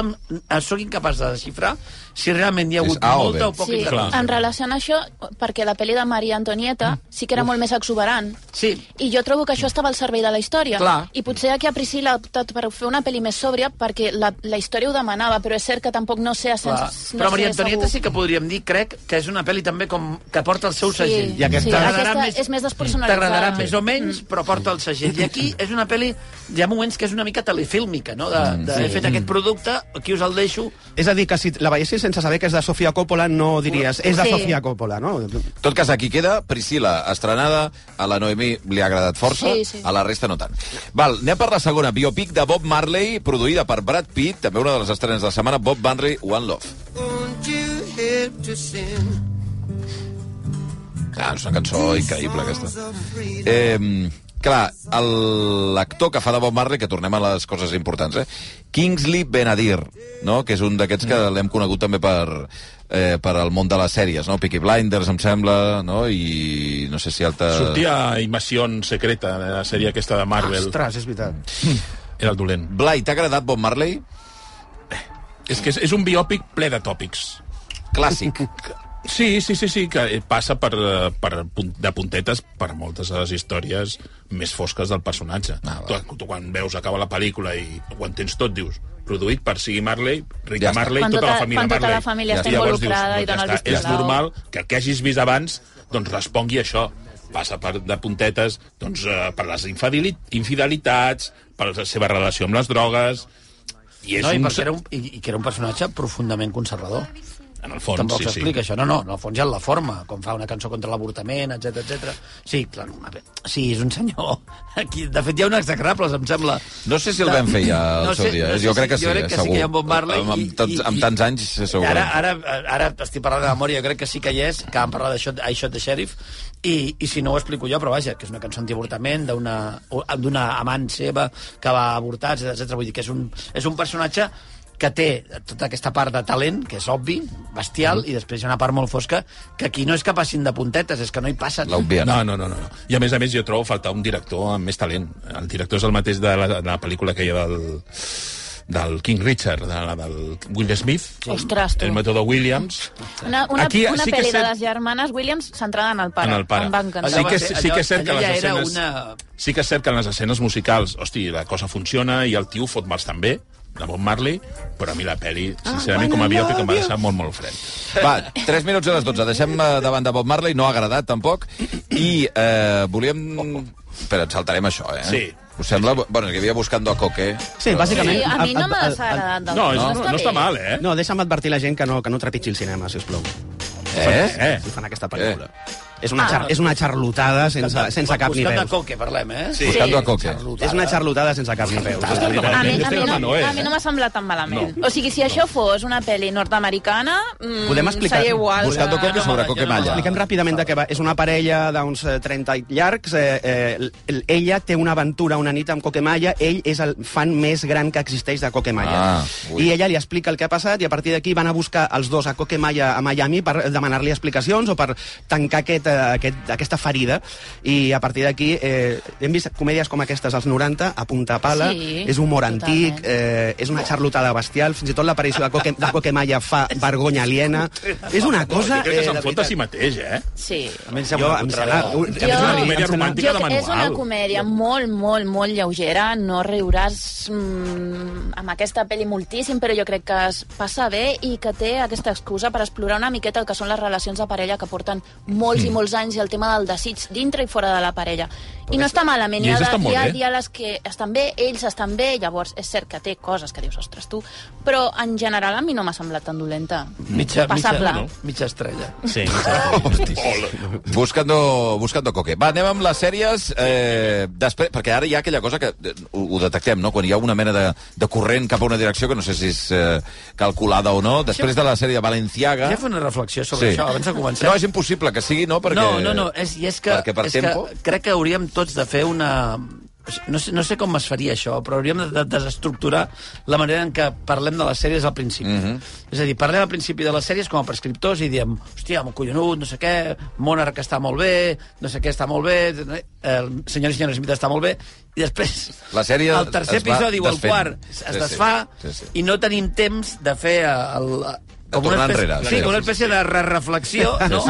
B: sóc incapaç de desxifrar si realment hi ha
A: És
B: hagut
A: A o B.
B: molta o poca
E: Sí,
B: intervenció.
E: en relació a això, perquè la pel·li de Maria Antonieta
F: Mm.
E: sí que era molt més exuberant.
B: Sí.
E: I jo trobo que això estava al servei de la història.
B: Clar.
E: I potser aquí a Priscila ha optat per fer una pel·li més sòbria perquè la, la història ho demanava, però és cert que tampoc no sé... a
B: Clar.
E: sens- doncs, No
B: Però Maria
E: sé
B: Antonieta
E: segur.
B: sí que podríem dir, crec, que és una pel·li també com que porta el seu segell.
E: I aquesta-
B: T'agradarà
E: aquesta és més despersonalitzada. Mm.
B: T'agradarà més
E: Sí.
B: o menys, però porta el segell. I aquí és una pel·li, hi ha moments que és una mica telefílmica, no? De, de
F: sí.
B: He fet aquest producte, aquí us el deixo.
F: És a dir, que si la veiessis sense saber que és de Sofia Coppola, no diries, és de
B: Sí.
F: Sofia Coppola, no?
A: En tot cas, aquí queda Priscila, estrenada. A la Noemí li ha agradat força,
E: Sí, sí.
A: a la resta no tant. Val, anem per la segona, biopic de Bob Marley, produïda per Brad Pitt, també una de les estrenes de la setmana, Bob Marley, One Love. Clar, és una cançó increïble, aquesta. Eh, clar, el- l'actor que fa de Bob Marley, que tornem a les coses importants, eh? Kingsley Benadir, no? que és un d'aquests que l'hem conegut també per, eh, per al món de les sèries, no? Peaky Blinders, em sembla, no? i no sé si alta...
D: Sortia Invasió Secreta, eh, la sèrie aquesta de Marvel.
F: Ostres, és veritat.
D: Era el dolent.
A: Blai, t'ha agradat Bob Marley?
D: És que és, és un biòpic ple de tòpics.
A: Clàssic.
D: Sí, sí, sí, sí, que passa per, eh, per, pun- de puntetes per moltes de les històries més fosques del personatge.
A: Ah,
D: Ah,
A: va.
D: tu, tu, quan veus, acaba la pel·lícula i ho entens tot, dius, produït per Sigui Marley, Rick
A: Ja
D: ja
A: està.
D: Marley,
E: Quan
D: tota,
E: tota-
D: la família
E: quan tota
D: Marley.
E: la família està
D: I llavors
E: involucrada i
D: dius,
E: dona el
D: ja està, és
E: vistiplau.
D: normal que el que hagis vist abans doncs respongui a això. Passa per, de puntetes doncs, eh, per les infideli- infidelitats, per la seva relació amb les drogues... I és
B: No, i,
D: un...
B: perquè era un, i, i que era un personatge profundament conservador.
D: En el fons,
B: Tampoc
D: sí, sí.
B: s'explica això. No, no, en el fons hi ha la forma, com fa una cançó contra l'avortament, etc etc. Sí, clar, no, a veure, sí, és un senyor... Aquí, de fet, hi ha un execrables, em sembla.
A: No sé si el vam fer ja el
B: No
A: seu
B: sé,
A: dia.
B: no
A: eh?
B: sé
A: jo
B: si-
A: crec que sí,
B: jo crec
A: eh,
B: que sí
A: segur.
B: que hi ha Bob Marley
A: Amb,
B: i-
A: amb, tants,
B: i-
A: amb tants anys, eh, segur.
B: Ara, ara, ara estic parlant de memòria, crec que sí que hi és, que vam parlar d'això I Shot the Sheriff, i, i si no ho explico jo, però vaja, que és una cançó antiavortament d'una d'una amant seva que va avortar, etc. Vull dir que és un, és un personatge que té tota aquesta part de talent, que és obvi,
A: Mm-hmm.
B: bestial, i després hi ha una part molt fosca, que aquí no és que passin de puntetes, és que no hi passen.
A: L'obvien.
D: No, no, no, no. I a més a més jo trobo faltar un director amb més talent. El director és el mateix de la, de la pel·lícula aquella del del King Richard, de la del Will Smith,
E: Ostres, tu.
D: el mètode Williams,
E: Una, una,
D: Aquí
E: una
D: sí que
E: pel·li
D: sé-
E: de les germanes Williams centrada en el pare.
D: en el pare.
E: Em va encantar.
D: Sí que, és-
B: Allò va ser-
D: sí que és cert que
B: allò-
D: les
B: allò ja era
D: escenes...
B: una-
D: Sí que és cert que en les escenes musicals, hosti, la cosa funciona i el tio fot mals també, de Bob Marley, però a mi la pel·li, sincerament, com a biòpic, em va deixar molt, molt fred.
A: Va, 3 minuts a les 12. Deixem eh, de banda Bob Marley, no ha agradat tampoc. I eh, volíem... Espera, ens saltarem això, eh?
D: Sí.
A: Us sembla? Bueno, és que hi havia Buscando a Coque.
F: Sí, bàsicament...
E: Sí, a mi no
F: ad-
E: m'ha
F: ad-
E: desagradat. del
D: No,
E: tot,
D: és, no, no està
E: Doncs bé.
D: mal, eh?
F: ad- No, deixa'm advertir la gent que no, que no trepitgi el cinema, si us plau.
A: Eh?
D: Eh?
F: Si fan aquesta pel·lícula. És una, xar, és una xarlotada sense, sense cap ni
B: Buscant de
F: veus.
B: coque, parlem, eh?
A: Sí. Buscando a Coque.
F: És una xarlotada sense cap ni veus.
E: A mi, a mi,
D: Estem amb
E: no,
D: Noé,
E: a mi no m'ha semblat tan malament. No. O sigui, si això fos una pel·li nord-americana, mm,
F: Podem explicar-
E: seria igual.
A: Buscando
E: que-
A: Coque sobre Coque Malla.
F: Expliquem ràpidament de què va. És una parella d'uns eh, 30 i llargs. Eh, eh, l- l- ella té una aventura una nit amb Coquemalla. Ell és el fan més gran que existeix de Coquemalla.
A: Ah, ui.
F: I ella li explica el que ha passat i a partir d'aquí van a buscar els dos a Coquemalla a Miami per demanar-li explicacions o per tancar aquest, eh, aquest, aquesta ferida. I a partir d'aquí eh, hem vist comèdies com aquestes als 90, a punta pala.
E: Sí,
F: és humor
E: totalment.
F: antic, eh, és una xarlotada bestial. Fins i tot l'aparició de, Coque, de Coquemalla fa vergonya aliena. És una cosa...
D: Jo crec que
F: eh,
D: se'n
F: de
D: fot de
F: veritat.
D: si mateix, eh?
E: Sí.
F: Jo, em sembla... Jo,
D: És una comèdia romàntica. Mica de
E: Jo, és una
D: manual.
E: comèdia molt, molt, molt lleugera, no riuràs mm, amb aquesta pel·li moltíssim, però jo crec que es passa bé i que té aquesta excusa per explorar una miqueta el que són les relacions de parella que porten molts
D: Hmm.
E: i molts anys i el tema del desig dintre i fora de la parella. I no està malament,
D: I
E: hi ha,
D: ells estan molt
E: hi ha
D: bé.
E: diàlegs que estan bé, ells estan bé, llavors és cert que té coses que dius, ostres, tu, però en general a mi no m'ha semblat tan dolenta.
B: Mitja, mitja,
E: Passable.
B: no? mitja estrella.
D: Sí.
A: Buscando, buscando Coque. Va, anem amb les sèries. Eh, després, perquè ara hi ha aquella cosa que eh, ho, ho detectem, no? Quan hi ha una mena de, de corrent cap a una direcció que no sé si és eh, calculada o no. Després de la sèrie de Valenciaga...
B: Ja fa una reflexió sobre això, abans de començar.
A: No, és impossible que sigui, no? Perquè,
B: No, no, no, és, i és que,
A: Perquè per
B: és
A: tempo...
B: que crec que hauríem tots de fer una... No sé, no sé com es faria això, però hauríem de, de desestructurar la manera en què parlem de les sèries al principi.
A: Mhm.
B: Mm -hmm. És a dir, parlem al principi de les sèries com a prescriptors i diem, hòstia, amb collonut, no sé què, Monarch està molt bé, no sé què està molt bé, eh, Senyor i Senyor Smith està molt bé, i després
A: La sèrie
B: el tercer
A: es va
B: episodi o el
A: desfent.
B: quart es,
A: Sí,
B: es
A: sí.
B: desfà
A: Sí, sí.
B: i no tenim temps de fer eh, el...
A: tornar
B: una espècie,
A: enrere.
B: Sí,
A: Sí,
B: com una
A: sí,
B: espècie de re reflexió, no?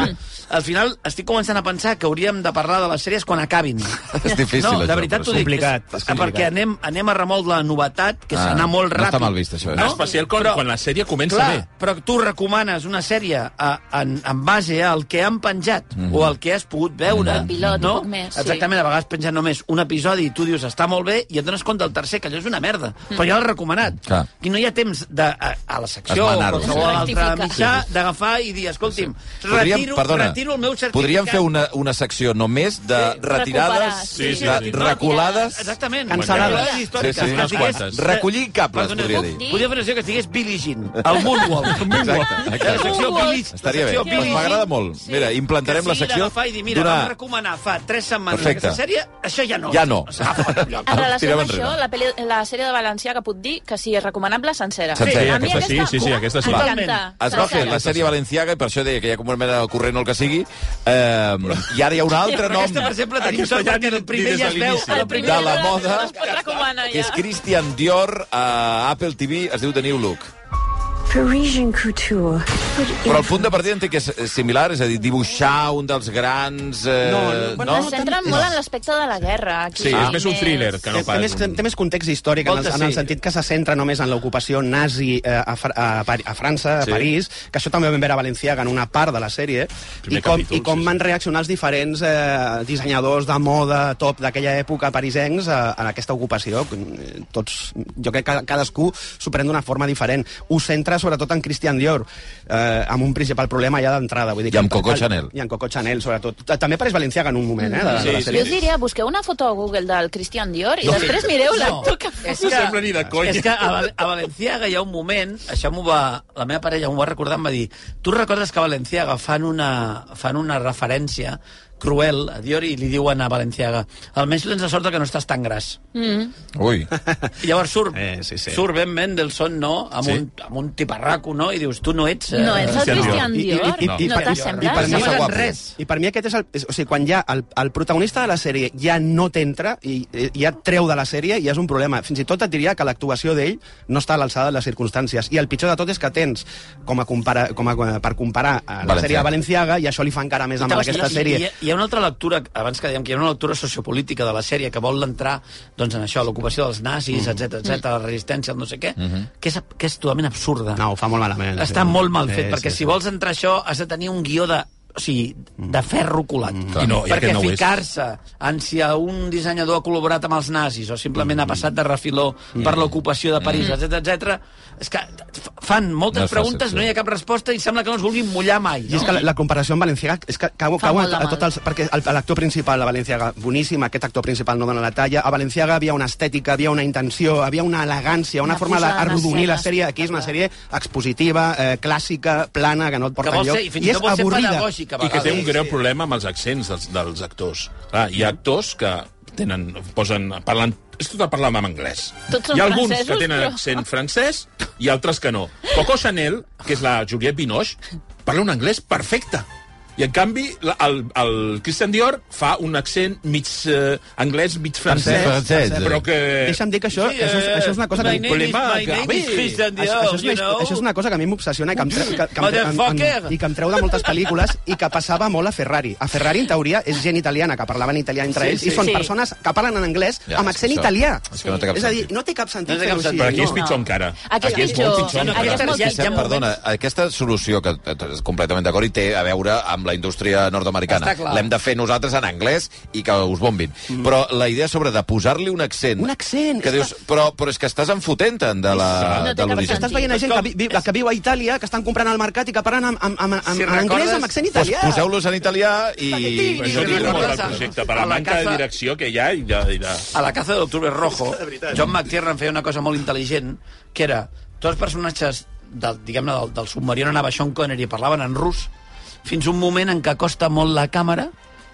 B: al final estic començant a pensar que hauríem de parlar de les sèries quan acabin.
A: És difícil,
B: No,
A: això,
B: de veritat
A: però
B: t'ho
A: és
B: dic.
G: complicat,
B: és-
G: és complicat.
B: Perquè anem, anem a remol de la novetat, que és
A: Ah,
B: anar molt
A: no
B: ràpid.
A: està mal vist, això, eh?
D: No,
A: No,
D: especial quan, quan la sèrie comença
B: Clar,
D: bé.
B: però tu recomanes una sèrie a, en, en base al que han penjat
A: Mhm.
B: mm -hmm. o al que has pogut veure.
E: Un pilot,
B: no?
E: un poc més, sí.
B: Exactament, a vegades pengen només un episodi i tu dius està molt bé i et dones compte del tercer, que allò és una merda. Mm. Però ja l'has recomanat.
A: Mhm. Clar.
B: I no hi ha temps de, a, a la secció o
A: Esmenar-ho,
B: qualsevol
A: sí.
B: altre
E: Rectificar.
B: mitjà d'agafar i dir, escolti'm,
A: Podríem-
B: retiro,
A: perdona,
B: retiro el meu certificat.
A: Podríem fer una, una secció només de
B: Sí.
A: retirades,
E: Recuperar,
D: sí, sí,
A: de
D: sí.
A: reculades...
B: Exactament.
F: Cancel·lades.
B: Reculades històriques.
A: Sí, sí.
B: Que
A: Unes
B: digués-
D: quantes.
A: Recollir cables,
B: Perdona,
A: podria
B: puc
A: dir.
B: dir? Podria fer una secció que estigués Billie Jean, el Moonwalk.
A: Exacte,
B: La
A: exacte.
B: secció Billie Jean.
A: Estaria bé.
B: Billie
A: Doncs
B: Jean.
A: M'agrada molt. Mira, implantarem
B: que
A: la
B: sigui
A: secció
B: d'agafar i dir, mira,
A: d'una-
B: vam recomanar fa 3 setmanes
A: Perfecte.
B: aquesta sèrie, això ja no. ah,
A: Ja no.
B: S'agafa per lloc.
E: En relació
A: Tirem
E: amb
A: enrere.
E: això, Ah, la, peli, la sèrie de Valencià que puc dir que sí, és recomanable sencera.
A: Sencera,
E: a mi
A: aquesta
D: sí, sí, sí, aquesta sí.
E: M'encanta.
B: Totalment.
A: Es va fer
E: Sencera.
A: la sèrie valenciaga, i per això deia que hi ha com una mena de corrent o el que sigui, eh, i ara hi ha un altre
B: Però
A: nom
B: aquesta, per exemple, tenim
D: Aquesta
B: sort
D: ja
B: perquè
D: ni-
B: el primer
D: ni
B: ja es
D: des de
B: veu.
D: l'inici.
A: El
B: El
A: primer
B: primer
A: de la moda,
E: Es pot recomanar,
A: que és
E: ja.
A: Christian Dior a Apple TV, es diu The New Look.
J: Parisian couture.
A: Però el punt de partida entenc que és eh, similar, és a dir, dibuixar un dels grans... Eh,
F: No,
A: no,
F: no,
A: no?
E: Es centren molt en l'aspecte de la guerra. Aquí Ah.
D: Sí, és més un thriller que
F: Té,
D: no
F: té,
D: pas
F: més,
D: un...
F: té més context històric, en el,
B: Volta,
F: en el
B: sí.
F: sentit que se centra només en l'ocupació nazi eh, a, Fra- a, Pari- a França, a
D: Sí.
F: París, que això també vam veure a Valenciaga en una part de la sèrie,
D: Primer
F: i com,
D: capítol,
F: i com
D: sí, sí.
F: van reaccionar els diferents eh, dissenyadors de moda top d'aquella època parisencs eh, en aquesta ocupació. Eh, Tots, jo crec que cadascú s'ho pren d'una forma diferent. Ho centra sobretot en Christian Dior, eh, amb un principal problema ja d'entrada. vull dir
A: I
F: que-
A: amb Coco Chanel.
F: I amb Coco Chanel, sobretot. També apareix Valenciaga en un moment, eh, de, de la
D: Sí, sí.
F: sèrie.
E: Jo us diria, busqueu una foto a Google del Christian Dior i després mireu l'actor que fa.
B: És que,
D: sembla ni de conya.
B: És que a, Val- a Valenciaga hi ha un moment, això m'ho va... La meva parella m'ho va recordar, em va dir tu recordes que a Valenciaga fan una, fan una referència cruel a Dior i li diuen a Valenciaga almenys tens la sort de que no estàs tan gras.
A: Ui.
B: I llavors surt,
F: Eh, sí, sí.
B: surt Ben Mendelssohn, no?, amb,
D: Sí.
B: sí. un, amb un tiparraco, no?, i dius, tu no ets... eh,
E: No ets el Christian Dior,
F: I- i-
E: no
F: i- i-
E: t'has
F: i per
E: semblat.
F: mi
A: Sembla
F: és
A: guapo.
B: res.
F: I per mi aquest és el... és- O sigui, quan ja el, el protagonista de la sèrie ja no t'entra i, i ja et treu de la sèrie, ja és un problema. Fins i tot et diria que l'actuació d'ell no està a l'alçada de les circumstàncies. I el pitjor de tot és que tens, com a, compara, com a per comparar a la
A: Valenciaga.
F: sèrie de Valenciaga, i això li fa encara més amb
B: Clar,
F: aquesta
B: hi ha- Hi,
F: sèrie.
B: ha- hi ha una altra lectura, abans que dèiem que hi ha una lectura sociopolítica de la sèrie que vol entrar doncs, en això, l'ocupació dels nazis, etc etc, la resistència, el no sé què, que, és, que és totalment absurda.
F: No, ho fa molt malament.
B: Està molt mal fet,
F: Sí,
B: perquè
F: sí,
B: si
F: sí.
B: vols entrar a això has de tenir un guió de o sigui, de ferro colat.
D: I no, i
B: perquè
D: aquest no ho és.
B: ficar-se en si a un dissenyador ha col·laborat amb els nazis o simplement ha passat de refiló per l'ocupació de París, etc etc. és que eh, f- fan moltes
A: No és fàcil,
B: preguntes,
A: sí.
B: no hi ha cap resposta i sembla que no es vulguin mullar mai.
F: I és que la, la comparació amb Valenciaga és que cau,
E: Fa
F: cau a,
E: molt de
F: a
E: mal.
F: tots els... Perquè el- l'actor principal de Valenciaga, boníssim, aquest actor principal no dona la talla. A Valenciaga havia una estètica, havia una intenció, havia una elegància, una,
E: Una
F: forma
E: posada en
F: d'arrodonir la
E: escena
F: sèrie. Aquí és una sèrie expositiva, eh, clàssica, plana, que no et
B: que
F: porta
B: vol
F: enlloc.
B: ser, i fins i
F: és
B: tot vol ser
F: avorrida.
B: pedagògica. a
D: I que té
B: vegades.
D: un greu problema amb els accents dels, dels actors. Clar, hi ha actors que tenen, posen, parlen, és tot el parlar en anglès.
E: Tots són
D: hi ha alguns
E: francesos,
D: que tenen
E: però-
D: accent francès i altres que no. Coco Chanel, que és la Juliette Binoche, parla un anglès perfecte. I, en canvi, la- el, el Christian Dior fa un accent mig eh, anglès, mig francès,
A: Francès, francès,
D: però
A: sí.
D: que...
F: Deixa'm dir que això,
B: Sí,
F: això, és,
B: eh,
F: això és una cosa que...
B: my
F: em-
B: name is-
D: problema
B: my
D: que-
B: name is
D: Bé,
B: Christian
F: Això,
B: Dior,
F: això, és
B: oh,
F: una,
B: you know?
F: això és una cosa que a mi m'obsessiona i que em, tre- que, que, em, em, em,
B: Motherfucker!
F: i que em treu de moltes pel·lícules i que passava molt a Ferrari. A Ferrari, en teoria, és gent italiana, que parlaven italià entre
B: Sí,
F: ells,
B: sí.
F: i són
E: Sí.
F: persones que parlen en anglès
A: Ja,
F: amb
A: és
F: accent
A: això.
F: italià.
A: És que no té cap
F: és a dir,
A: sentit.
F: no té cap sentit
B: No té cap
F: fer-ho així.
B: sentit.
D: Però
F: no.
D: aquí és pitjor encara.
E: Aquí és
D: és molt
E: pitjor.
D: pitjor
E: No,
D: encara.
E: Aquest és molt
A: Però és que,
E: pitjor.
A: Perdona, aquesta solució, que eh, és completament d'acord, i té a veure amb la indústria nord-americana.
B: Està clar.
A: L'hem de fer nosaltres en anglès i que us bombin. Però la idea sobre de posar-li un accent...
F: Un accent,
A: Que
F: és
A: dius, però, però és que estàs enfotent-en de la-
E: No té
A: de
E: cap
A: l'origen.
F: Estàs veient a gent que, vi, vi, que viu a Itàlia, que estan comprant al mercat i que parlen amb, amb, amb, amb,
B: Si
F: en anglès
B: recordes,
F: amb accent
A: Doncs
F: italià.
A: poseu-los en italià i...
D: Però això
B: Ni- ni-
D: té molt
B: ni-
D: del projecte, per
B: a
D: la
B: la
D: manca de
B: casa-
D: direcció que hi ha i de... I de...
A: Eh,
B: a la caza de l'octubre rojo, John McTiernan feia una cosa molt intel·ligent, que era, tots els personatges del, diguem-ne, del, del submarí on anava Sean Connery i parlaven en rus, fins un moment en què acosta molt la càmera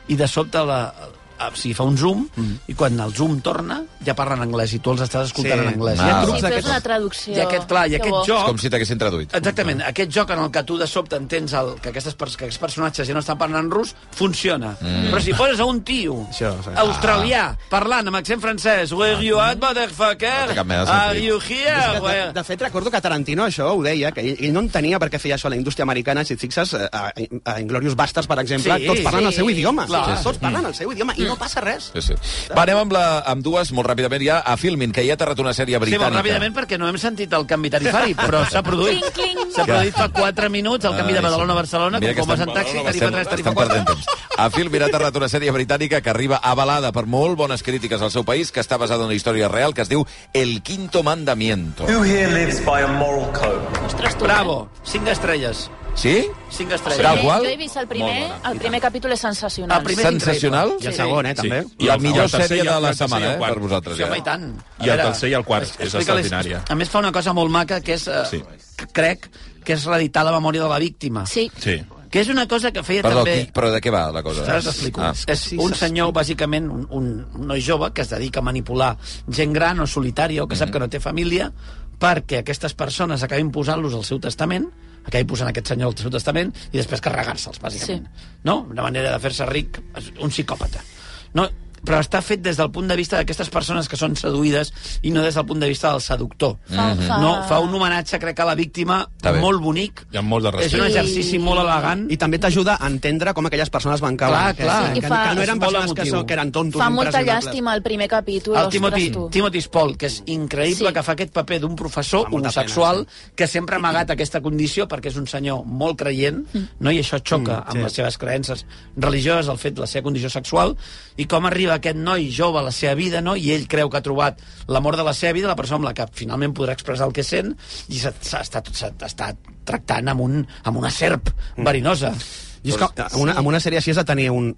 B: i de sobte la, o sigui, fa un zoom,
F: Mm.
B: i quan el zoom torna, ja parla en anglès, i tu els estàs escoltant
F: Sí.
B: en anglès.
A: Ah,
B: Hi ha
A: val.
E: Sí,
B: trucs
E: però és
B: d'aquests-
E: una traducció.
B: I aquest, clar, i
E: Que bo.
B: aquest
A: És
B: joc...
A: com si t'haguessin traduït.
B: Exactament, aquest joc en el que tu de sobte entens el, que, aquestes, pers- que aquests personatges ja no estan parlant rus, funciona. Mm. Però si poses a un tio
F: Això, sí.
A: ah.
B: australià parlant amb accent francès Where you at,
A: Mm. té
B: motherfucker?
A: cap mena de
B: Are
A: sentit.
B: you here?
F: De,
B: Where...
F: de fet, recordo que Tarantino això ho deia, que ell, ell no entenia per què feia això a la indústria americana, si et fixes, eh, a, a Inglorious Bastards, per exemple,
B: Sí,
F: sí, tots parlen
B: sí,
F: el seu idioma.
B: clar.
F: Sí, sí. Tots parlen el seu idioma i no passa res.
A: Sí, sí. Va, anem amb, la, amb dues, molt ràpidament, ja a Filmin, que ja ha aterrat una sèrie
B: Sí,
A: britànica.
B: molt ràpidament, perquè no hem sentit el canvi tarifari, però s'ha produït.
C: Cling, cling.
B: S'ha produït fa 4 minuts el canvi de
A: Ai,
B: Badalona a
A: sí.
B: Barcelona,
A: Mira
B: com
A: que
B: com vas
A: estem-
B: en taxi,
A: Badalona,
B: tarifa
A: estem-
B: 3,
A: estem
B: tarifa 4.
A: perdent temps. A Filmin ha aterrat una sèrie britànica que arriba avalada per molt bones crítiques al seu país, que està basada en una història real que es diu El Quinto Mandamiento.
K: Who here lives by a moral code?
E: Ostres, tu,
B: Bravo, 5 estrelles.
A: Sí?
B: 5
E: eh?
B: estrelles.
A: Bravo.
E: Jo-
A: qual?
E: Jo he vist el primer,
A: Molt
E: el primer capítol és sensacional.
B: El primer és
A: Sensacional.
B: increïble.
F: I el segon, eh, també.
D: I
A: La
D: el-
A: millor
D: el tercer
A: sèrie
D: i el-
A: de la
D: el tercer i
A: setmana,
D: el
A: eh,
D: quart.
A: per vosaltres.
B: Sí, home, i tant. A
D: I el
B: veure,
D: tercer i el quart, és
B: explica-les-
D: extraordinària.
B: A més, fa una cosa molt maca, que és, eh,
D: Sí.
B: crec, que és reeditar la memòria de la víctima.
E: Sí.
D: Sí.
B: Que és una cosa que feia
A: Perdó,
B: també...
A: qui, però de què va la cosa?
B: Ara t'explico. Ah. És un senyor, bàsicament, un, un noi jove que es dedica a manipular gent gran o solitària o que
D: Mm-hmm.
B: sap que no té família perquè aquestes persones acabin posant-los al seu testament, acabin posant aquest senyor al seu testament i després carregar-se'ls, bàsicament. Sí. No? Una manera de fer-se ric, és un psicòpata. No? Però està fet des del punt de vista d'aquestes persones que són seduïdes i no des del punt de vista del seductor.
E: Fa-
D: Mm-hmm.
E: fa-
B: No, fa un homenatge, crec, a la víctima
A: Està bé.
B: molt bonic.
D: Hi ha molt de
B: És un
D: respecte.
B: exercici molt elegant.
F: I també t'ajuda a entendre com aquelles persones van caure.
B: Clar,
F: que,
B: clar.
F: Que,
E: I
F: que,
E: fa-
F: no
B: és molt
F: eren persones que,
B: emotiu.
F: so, que eren tontos.
E: Fa molta
F: impressionables.
E: llàstima el primer capítol,
B: El
E: ostres,
B: Timothy,
E: tu.
B: Timothy Spall, que és increïble
E: Sí.
B: sí. que fa aquest paper d'un professor
F: Fa molta
B: homosexual
F: pena,
B: que sempre ha amagat aquesta condició perquè és un senyor molt creient,
E: Mm.
B: no? i això xoca amb les seves creences religioses, el fet de la seva condició sexual, i com arriba aquest noi jove a la seva vida, no? i ell creu que ha trobat l'amor de la seva vida, la persona amb la que finalment podrà expressar el que sent, i s'ha- s'ha- està, s'ha- està tractant amb, un, amb una serp verinosa.
F: I és que amb una, amb una sèrie així has de tenir un...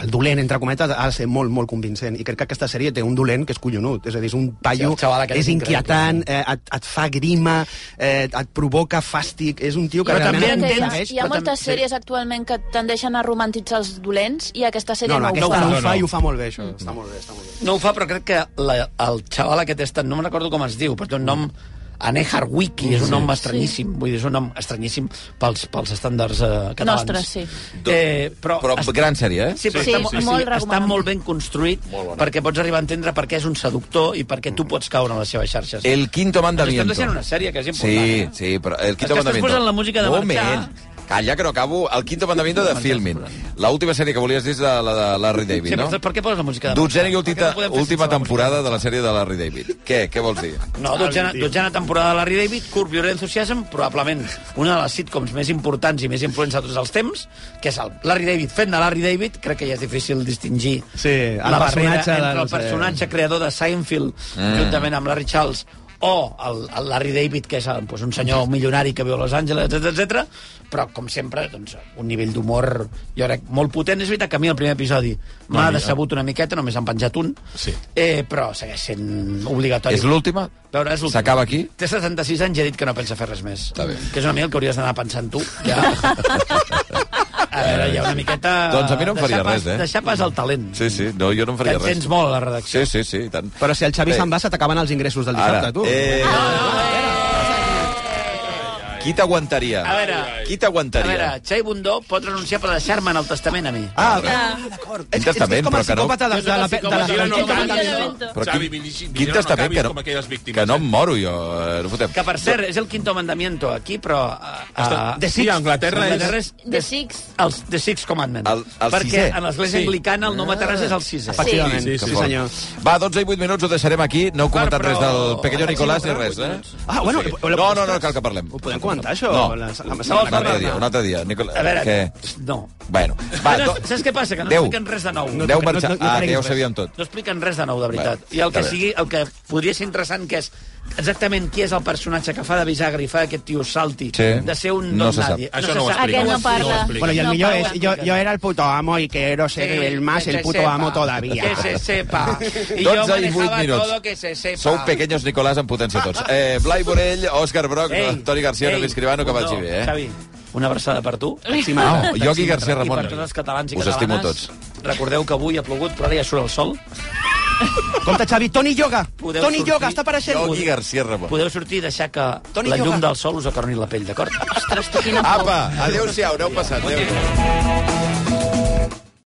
F: El dolent, entre cometes, ha de ser molt, molt convincent. I crec que aquesta sèrie té un dolent que és collonut. És a dir, és un paio...
B: Sí, el xaval aquest
F: és
B: és
F: inquietant, eh, et, et fa grima, eh, et provoca fàstic... És un tio que
B: Però
F: realment...
B: també
E: Hi ha-
B: entens-
F: aconsegueix-
E: Hi ha
B: però
E: moltes
B: també-
E: sèries actualment que tendeixen a romantitzar els dolents i aquesta sèrie
F: No, no,
E: no, ho
F: aquesta
E: fa.
F: no,
D: No,
F: ho fa
D: no.
F: i ho fa molt bé, això. Està molt bé, està molt bé.
B: No ho fa, però crec que la, el xaval aquest és tan... No me'n recordo com es diu, però té un nom... Anejar Wiki és un nom estranyíssim, vull dir, és un nom estranyíssim pels, pels estàndards eh, catalans.
E: Nostres, sí.
B: Eh, però
A: Però
B: es-
A: gran sèrie, eh?
B: Sí, però
E: Sí,
B: està,
E: sí,
B: mo-
E: sí.
B: o sigui,
E: molt
B: està
E: recomanable.
B: molt ben construït perquè pots arribar a entendre per què és un seductor i per què tu pots caure en les seves xarxes.
A: El Quinto
B: Ens estem
A: Mandamiento.
B: deixant una sèrie que és important.
A: Sí,
B: eh?
A: sí, però el
B: És
A: Quinto
B: que estàs
A: Mandamiento...
B: posant la música de
A: Moment.
B: marxar.
A: Calla, que no acabo. El Quinto Mandamiento de Filmin. La última sèrie que volies dir és de la de Larry David,
B: Sí,
A: no?
B: però per què poses la música de
A: Dotzena i
B: Per què
A: última,
B: no podem
A: última
B: fer sense la música?
A: temporada de la sèrie de Larry David. Què? Què vols dir?
B: No, dotzena, dotzena temporada de Larry David, Curb Your Enthusiasm, probablement una de les sitcoms més importants i més influents de tots els temps, que és el Larry David fent de Larry David, crec que ja és difícil distingir
F: Sí, el
B: la barrera
F: personatge de-
B: entre
F: no
B: el
F: sé.
B: personatge creador de Seinfeld, mm. juntament amb Larry Charles, o el, el Larry David, que és eh, doncs, un senyor milionari que viu a Los Angeles, etc etc. però, com sempre, doncs, un nivell d'humor, jo crec, molt potent. És veritat que a mi el primer episodi m'ha decebut una miqueta, només han penjat un,
D: Sí.
B: eh, però segueix sent obligatori.
A: És l'última?
B: Veure, és l'últim.
A: S'acaba aquí?
B: Té 76 anys i ha dit que no pensa fer res més.
A: Està bé.
B: Que és una mica el que hauries d'anar pensant tu. Ja. A veure, hi ha una miqueta...
A: Doncs a mi no em faria
B: deixar pas,
A: res, eh?
B: Deixar pas al talent.
A: Sí, sí, no, jo no em
B: Que
A: faria
B: en
A: res.
B: tens molt a la redacció.
A: Sí, sí, sí, i tant.
F: Però si el Xavi
A: Bé,
F: se'n va, se t'acaben els ingressos del dissabte,
A: Ara,
F: tu.
A: eh...
B: Ah,
A: Qui t'aguantaria?
B: A veure,
A: Qui
B: a veure,
A: t'aguantaria?
B: Xai Bundó pot renunciar per deixar-me en el testament a mi.
F: Ah,
A: Un testament, però que no...
F: psicòpata de, de, la, de, la, de, la, de, la, de, la,
A: Però
D: Xavi,
A: quin,
D: vigila,
A: quin
D: no
A: testament
D: acabis
A: que no,
D: com aquelles víctimes,
A: que no
D: eh?
A: em moro jo. eh, No fotem.
B: Que, per cert, és el quinto mandamiento aquí, però... Uh,
D: The Six. Sí, a Anglaterra és-
B: és...
E: The Six.
B: Els The Six Commandments.
A: El- el sisè.
B: perquè en l'església
D: Sí.
B: anglicana el nom a Terres és el sisè.
F: Efectivament, sí,
D: Sí, sí,
F: sí,
A: Que fort.
F: senyor.
A: Va, 12 i 8 minuts, ho deixarem aquí. No heu comentat
B: Clar,
A: res
B: però-
A: del pequeño Nicolás ni res, eh?
F: Ah, bueno,
A: Sí.
F: la-
A: No, no, no
F: ostres.
A: cal que parlem.
F: Ho podem comentar, això?
A: No,
F: La- la- la-
A: un altre dia, un altre dia. Nicola...
B: A veure,
A: Que...
B: no.
A: Bueno, va,
B: no,
A: do...
B: no, saps què passa? Que no
A: Deu.
B: expliquen res de nou.
F: No,
A: Deu
F: no,
A: marxar.
F: no, no
A: ah, que
F: treguis
A: ja ho
F: res.
A: sabíem tot.
B: No expliquen res de nou, de veritat.
A: Va,
B: I el que
A: està bé.
B: sigui, el que podria ser interessant que és exactament qui és el personatge que fa de bisagre i fa aquest tio salti
A: Sí.
B: de ser un
A: No
B: don
A: se sap.
B: nadie.
D: Això no ho
B: se sap.
D: explica.
E: Aquest no parla.
D: explica.
F: Bueno, y el
E: No,
F: millor
E: Pau,
F: es, yo, yo era el puto amo y quiero ser el más
B: que
F: el
B: se
F: puto
B: sepa.
F: amo todavía.
B: Que se sepa. I jo
A: 12 i 8
B: manejava
A: minuts.
B: todo que se sepa.
A: Sou pequeños Nicolás en potència tots. Eh, Blai Borell, Òscar Broc,
B: Ei,
A: Toni García,
B: ei,
A: Novi Escribano, que vagi
B: Bundó,
A: bé, eh?
B: Xavi, una abraçada per tu.
A: Ah, Iogui García
B: I
A: Ramon.
B: per tots els catalans i
A: Us
B: catalanes.
A: estimo tots.
B: Recordeu que avui ha plogut, però ara ja surt el sol.
F: Compte, Xavi, Toni Yoga.
B: Podeu
F: Toni
B: sortir-
F: Yoga, està apareixent.
A: Yogi García Ramon.
B: Podeu sortir i deixar que
F: Toni
B: la
F: Yoga.
B: llum del sol us acarni la pell, d'acord?
A: Apa, adeu-siau, aneu passant. Adeu.